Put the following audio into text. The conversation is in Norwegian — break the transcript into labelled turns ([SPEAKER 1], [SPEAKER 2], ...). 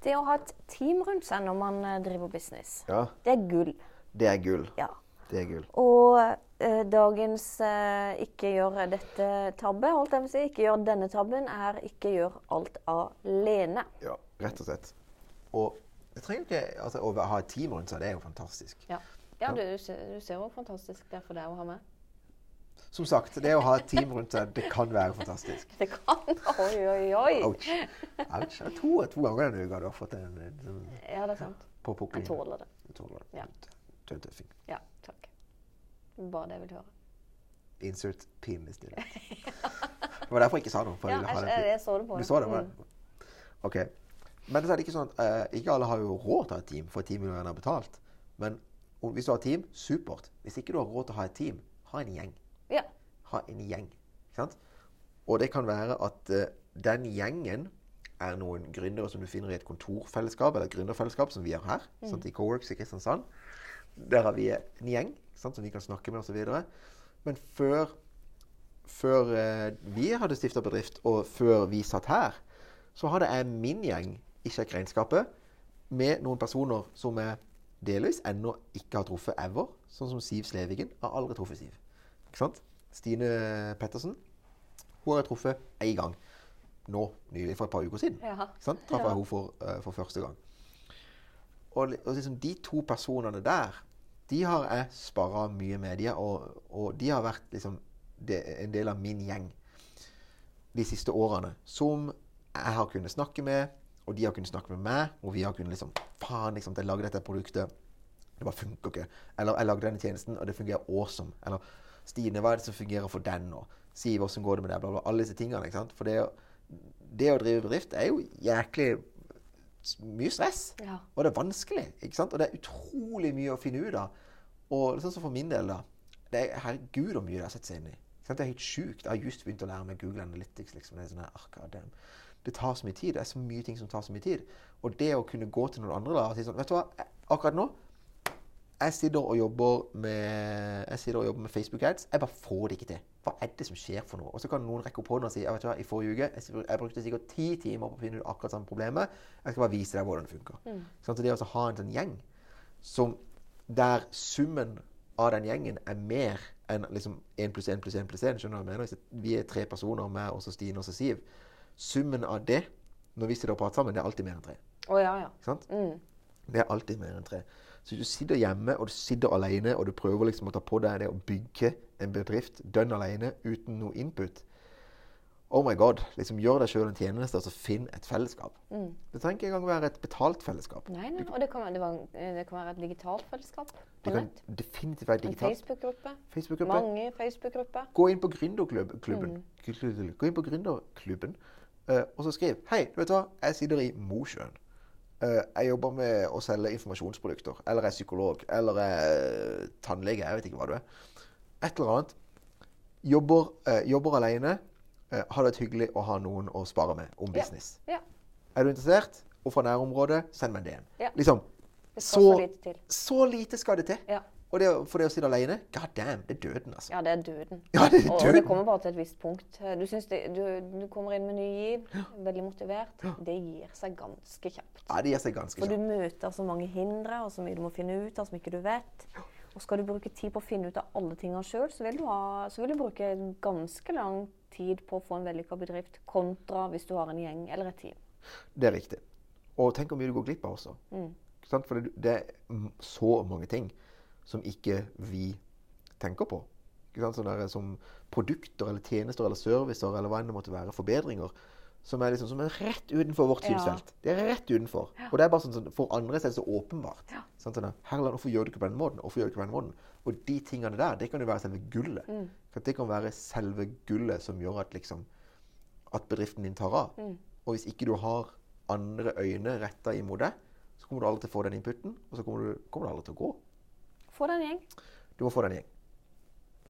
[SPEAKER 1] Det å ha et team rundt seg når man eh, driver business,
[SPEAKER 2] Ja,
[SPEAKER 1] det er gull.
[SPEAKER 2] det er gull.
[SPEAKER 1] Ja.
[SPEAKER 2] Det er gull.
[SPEAKER 1] Og eh, dagens eh, 'ikke gjør dette tabbe', holdt jeg på å si, 'ikke gjør denne tabben', er 'ikke gjør alt alene'.
[SPEAKER 2] Ja, rett og slett. Og det trenger jo ikke altså, Å ha et team rundt seg, det er jo fantastisk.
[SPEAKER 3] Ja, ja du, du ser du ser hvor fantastisk det er for deg å ha med.
[SPEAKER 2] Som sagt, det å ha et team rundt seg, det kan være fantastisk.
[SPEAKER 3] Det kan Oi, oi, oi!
[SPEAKER 2] Ouch. Ouch. Jeg tror to ganger denne uka du har fått en, en, sånn
[SPEAKER 3] Ja, det er sant.
[SPEAKER 2] på pukkelen.
[SPEAKER 3] Jeg tåler det.
[SPEAKER 2] Jeg tåler det.
[SPEAKER 3] Ja.
[SPEAKER 2] Du er en tøffing.
[SPEAKER 3] Ja, takk. Bare det jeg vil høre.
[SPEAKER 2] Insert pinlig stillhet. Det var derfor jeg ikke sa noe. for
[SPEAKER 3] Ja, eh,
[SPEAKER 2] jeg
[SPEAKER 3] jeg,
[SPEAKER 2] ville ha den
[SPEAKER 3] jeg,
[SPEAKER 2] pin-
[SPEAKER 3] jeg så det på
[SPEAKER 2] Du
[SPEAKER 3] deg.
[SPEAKER 2] så det, var
[SPEAKER 3] Mm.
[SPEAKER 2] det? Ok. Men så er det ikke sånn at eh, ikke alle har jo råd til å ha et team, for teamet vil gjerne ha betalt. Men om- hvis du har et team, supert. Hvis ikke du har råd til å ha et team, ha en gjeng.
[SPEAKER 3] Ja.
[SPEAKER 2] Ha en gjeng. Ikke sant? Og det kan være at eh, den gjengen er noen gründere som du finner i et kontorfellesskap, eller et gründerfellesskap, som vi har her. Sant, I Coworks i Kristiansand. Der har vi en gjeng ikke sant, som vi kan snakke med, osv. Men før før eh, vi hadde stifta bedrift, og før vi satt her, så hadde jeg min gjeng i Sjekk regnskapet med noen personer som jeg delvis ennå ikke har truffet ever. Sånn som Siv Slevigen. Jeg har aldri truffet Siv. Ikke sant? Stine Pettersen. Hun har jeg truffet én gang. Nå nylig, for et par uker siden.
[SPEAKER 3] Ja.
[SPEAKER 2] Ikke sant? Traff jeg henne for, eh, for første gang. Og, li- og liksom de to personene der, de har jeg sparra mye med. De, har- og, og de har vært liksom de, en del av min gjeng de siste årene. Som jeg har kunnet snakke med, og de har kunnet snakke med meg. Og vi har kunnet liksom Faen, liksom, jeg lagde dette produktet. Det bare funker ikke. Eller jeg lagde denne tjenesten, og det fungerer awesome. Eller Stine, hva er det som fungerer for den nå? Siv, åssen går det med deg? Bla, bla. Alle disse tingene. ikke sant? For det, å- det å drive bedrift er jo jæklig s- mye stress.
[SPEAKER 3] Ja.
[SPEAKER 2] Og det er vanskelig. ikke sant? Og det er utrolig mye å finne ut av. Og sånn som for min del, da. Det er, herregud hvor mye det har sett seg inn i. Ikke sant? Det er helt sjukt. Jeg har just begynt å lære meg Google Analytics. liksom. Det er sånn her, ah, god damn. Det tar så mye tid. Det er så mye ting som tar så mye tid. Og det å kunne gå til noen andre da, og si sånn Vet du hva, Jeg- akkurat nå jeg sitter og jobber med, jeg sitter og jobber med Facebook ads. Jeg bare får det ikke til. Hva er det som skjer for noe? Og så kan noen rekke opp hånden og si «Ja, vet du hva, i forrige uke jeg, sitter- jeg brukte sikkert ti timer på å finne ut akkurat samme problemet. Jeg skal bare vise deg hvordan det funker. Sånn at det å ha en sånn gjeng som, der summen av den gjengen er mer enn liksom 1 pluss 1 pluss 1 pluss 1. Skjønner du hva jeg mener? Hvis Vi er tre personer, meg og så Stine og så Siv. Summen av det, når vi sitter og prater sammen, det er alltid mer enn tre.
[SPEAKER 3] Å ja, ja.
[SPEAKER 2] Ikke sant? Det er alltid mer enn tre. Så hvis du sitter hjemme og du sitter alene og du prøver liksom å ta på deg det å bygge en bedrift dønn alene uten noe input Oh my god. liksom Gjør deg sjøl en tjeneste og så finn et fellesskap. Det trenger ikke engang være et betalt fellesskap.
[SPEAKER 3] Nei, nei. Og det kan, være- det, var, det kan være et digitalt fellesskap
[SPEAKER 2] Det
[SPEAKER 3] på
[SPEAKER 2] kan
[SPEAKER 3] nett.
[SPEAKER 2] definitivt være
[SPEAKER 3] En
[SPEAKER 2] digitalt.
[SPEAKER 3] Facebook-gruppe.
[SPEAKER 2] Facebook-gruppe.
[SPEAKER 3] Mange Facebook-grupper.
[SPEAKER 2] Gå inn på Gründerklubben.
[SPEAKER 3] Mm.
[SPEAKER 2] Gå inn på Gründerklubben, eh, og så skriv Hei, du vet hva? Jeg sitter i Mosjøen. Eh, jeg jobber med å selge informasjonsprodukter. Eller jeg er psykolog. Eller jeg er eh, tannlege. Jeg vet ikke hva du er. Et eller annet. Jobber, eh, jobber alene. Eh, har det vært hyggelig å ha noen å spare med om business.
[SPEAKER 3] Ja.
[SPEAKER 2] Er du interessert? Og fra nærområdet, send meg en DM.
[SPEAKER 3] Ja.
[SPEAKER 2] Liksom,
[SPEAKER 3] Det skal så
[SPEAKER 2] så,
[SPEAKER 3] lite til.
[SPEAKER 2] så lite skal det til.
[SPEAKER 3] Ja.
[SPEAKER 2] Og det, å- for det å sitte alene, god damn, det er døden, altså.
[SPEAKER 3] ja, det er døden.
[SPEAKER 2] Ja, det er
[SPEAKER 3] Og
[SPEAKER 2] døden.
[SPEAKER 3] det kommer bare til et visst punkt. Du, syns det, du, du kommer inn med ny giv, veldig motivert. Det gir seg ganske kjapt.
[SPEAKER 2] Ja, det gir seg ganske
[SPEAKER 1] For
[SPEAKER 2] kjapt.
[SPEAKER 1] du møter så mange hindre og så mye du må finne ut av som ikke du vet. Og skal du bruke tid på å finne ut av alle tingene sjøl, så, vil du ha- så vil du bruke ganske lang tid på å få en vellykka bedrift, kontra hvis du har en gjeng eller et team.
[SPEAKER 2] Det er riktig. Og tenk hvor mye du går glipp av også. Ikke Sant? For det, det er m- så mange ting som ikke vi tenker på. Ikke sant? Sånn der, som produkter eller tjenester eller servicer eller hva enn det måtte være, forbedringer, som er, liksom, som er rett utenfor vårt
[SPEAKER 3] Ja.
[SPEAKER 2] synsfelt. Det er rett utenfor. Og det er bare sånn, sånn for andre så er det så åpenbart. Sant? Sånn, der, Herland, hvorfor gjør du ikke på den måten? Hvorfor gjør du ikke på den måten? Og de tingene der, det kan jo være selve gullet. For Det kan være selve gullet som gjør at liksom, at bedriften din tar av. Og hvis ikke du har andre øyne retta imot deg, så kommer du aldri til å få den inputen, og så kommer du, kommer du aldri til å gå.
[SPEAKER 1] Få deg en gjeng.
[SPEAKER 2] Du må få deg en gjeng.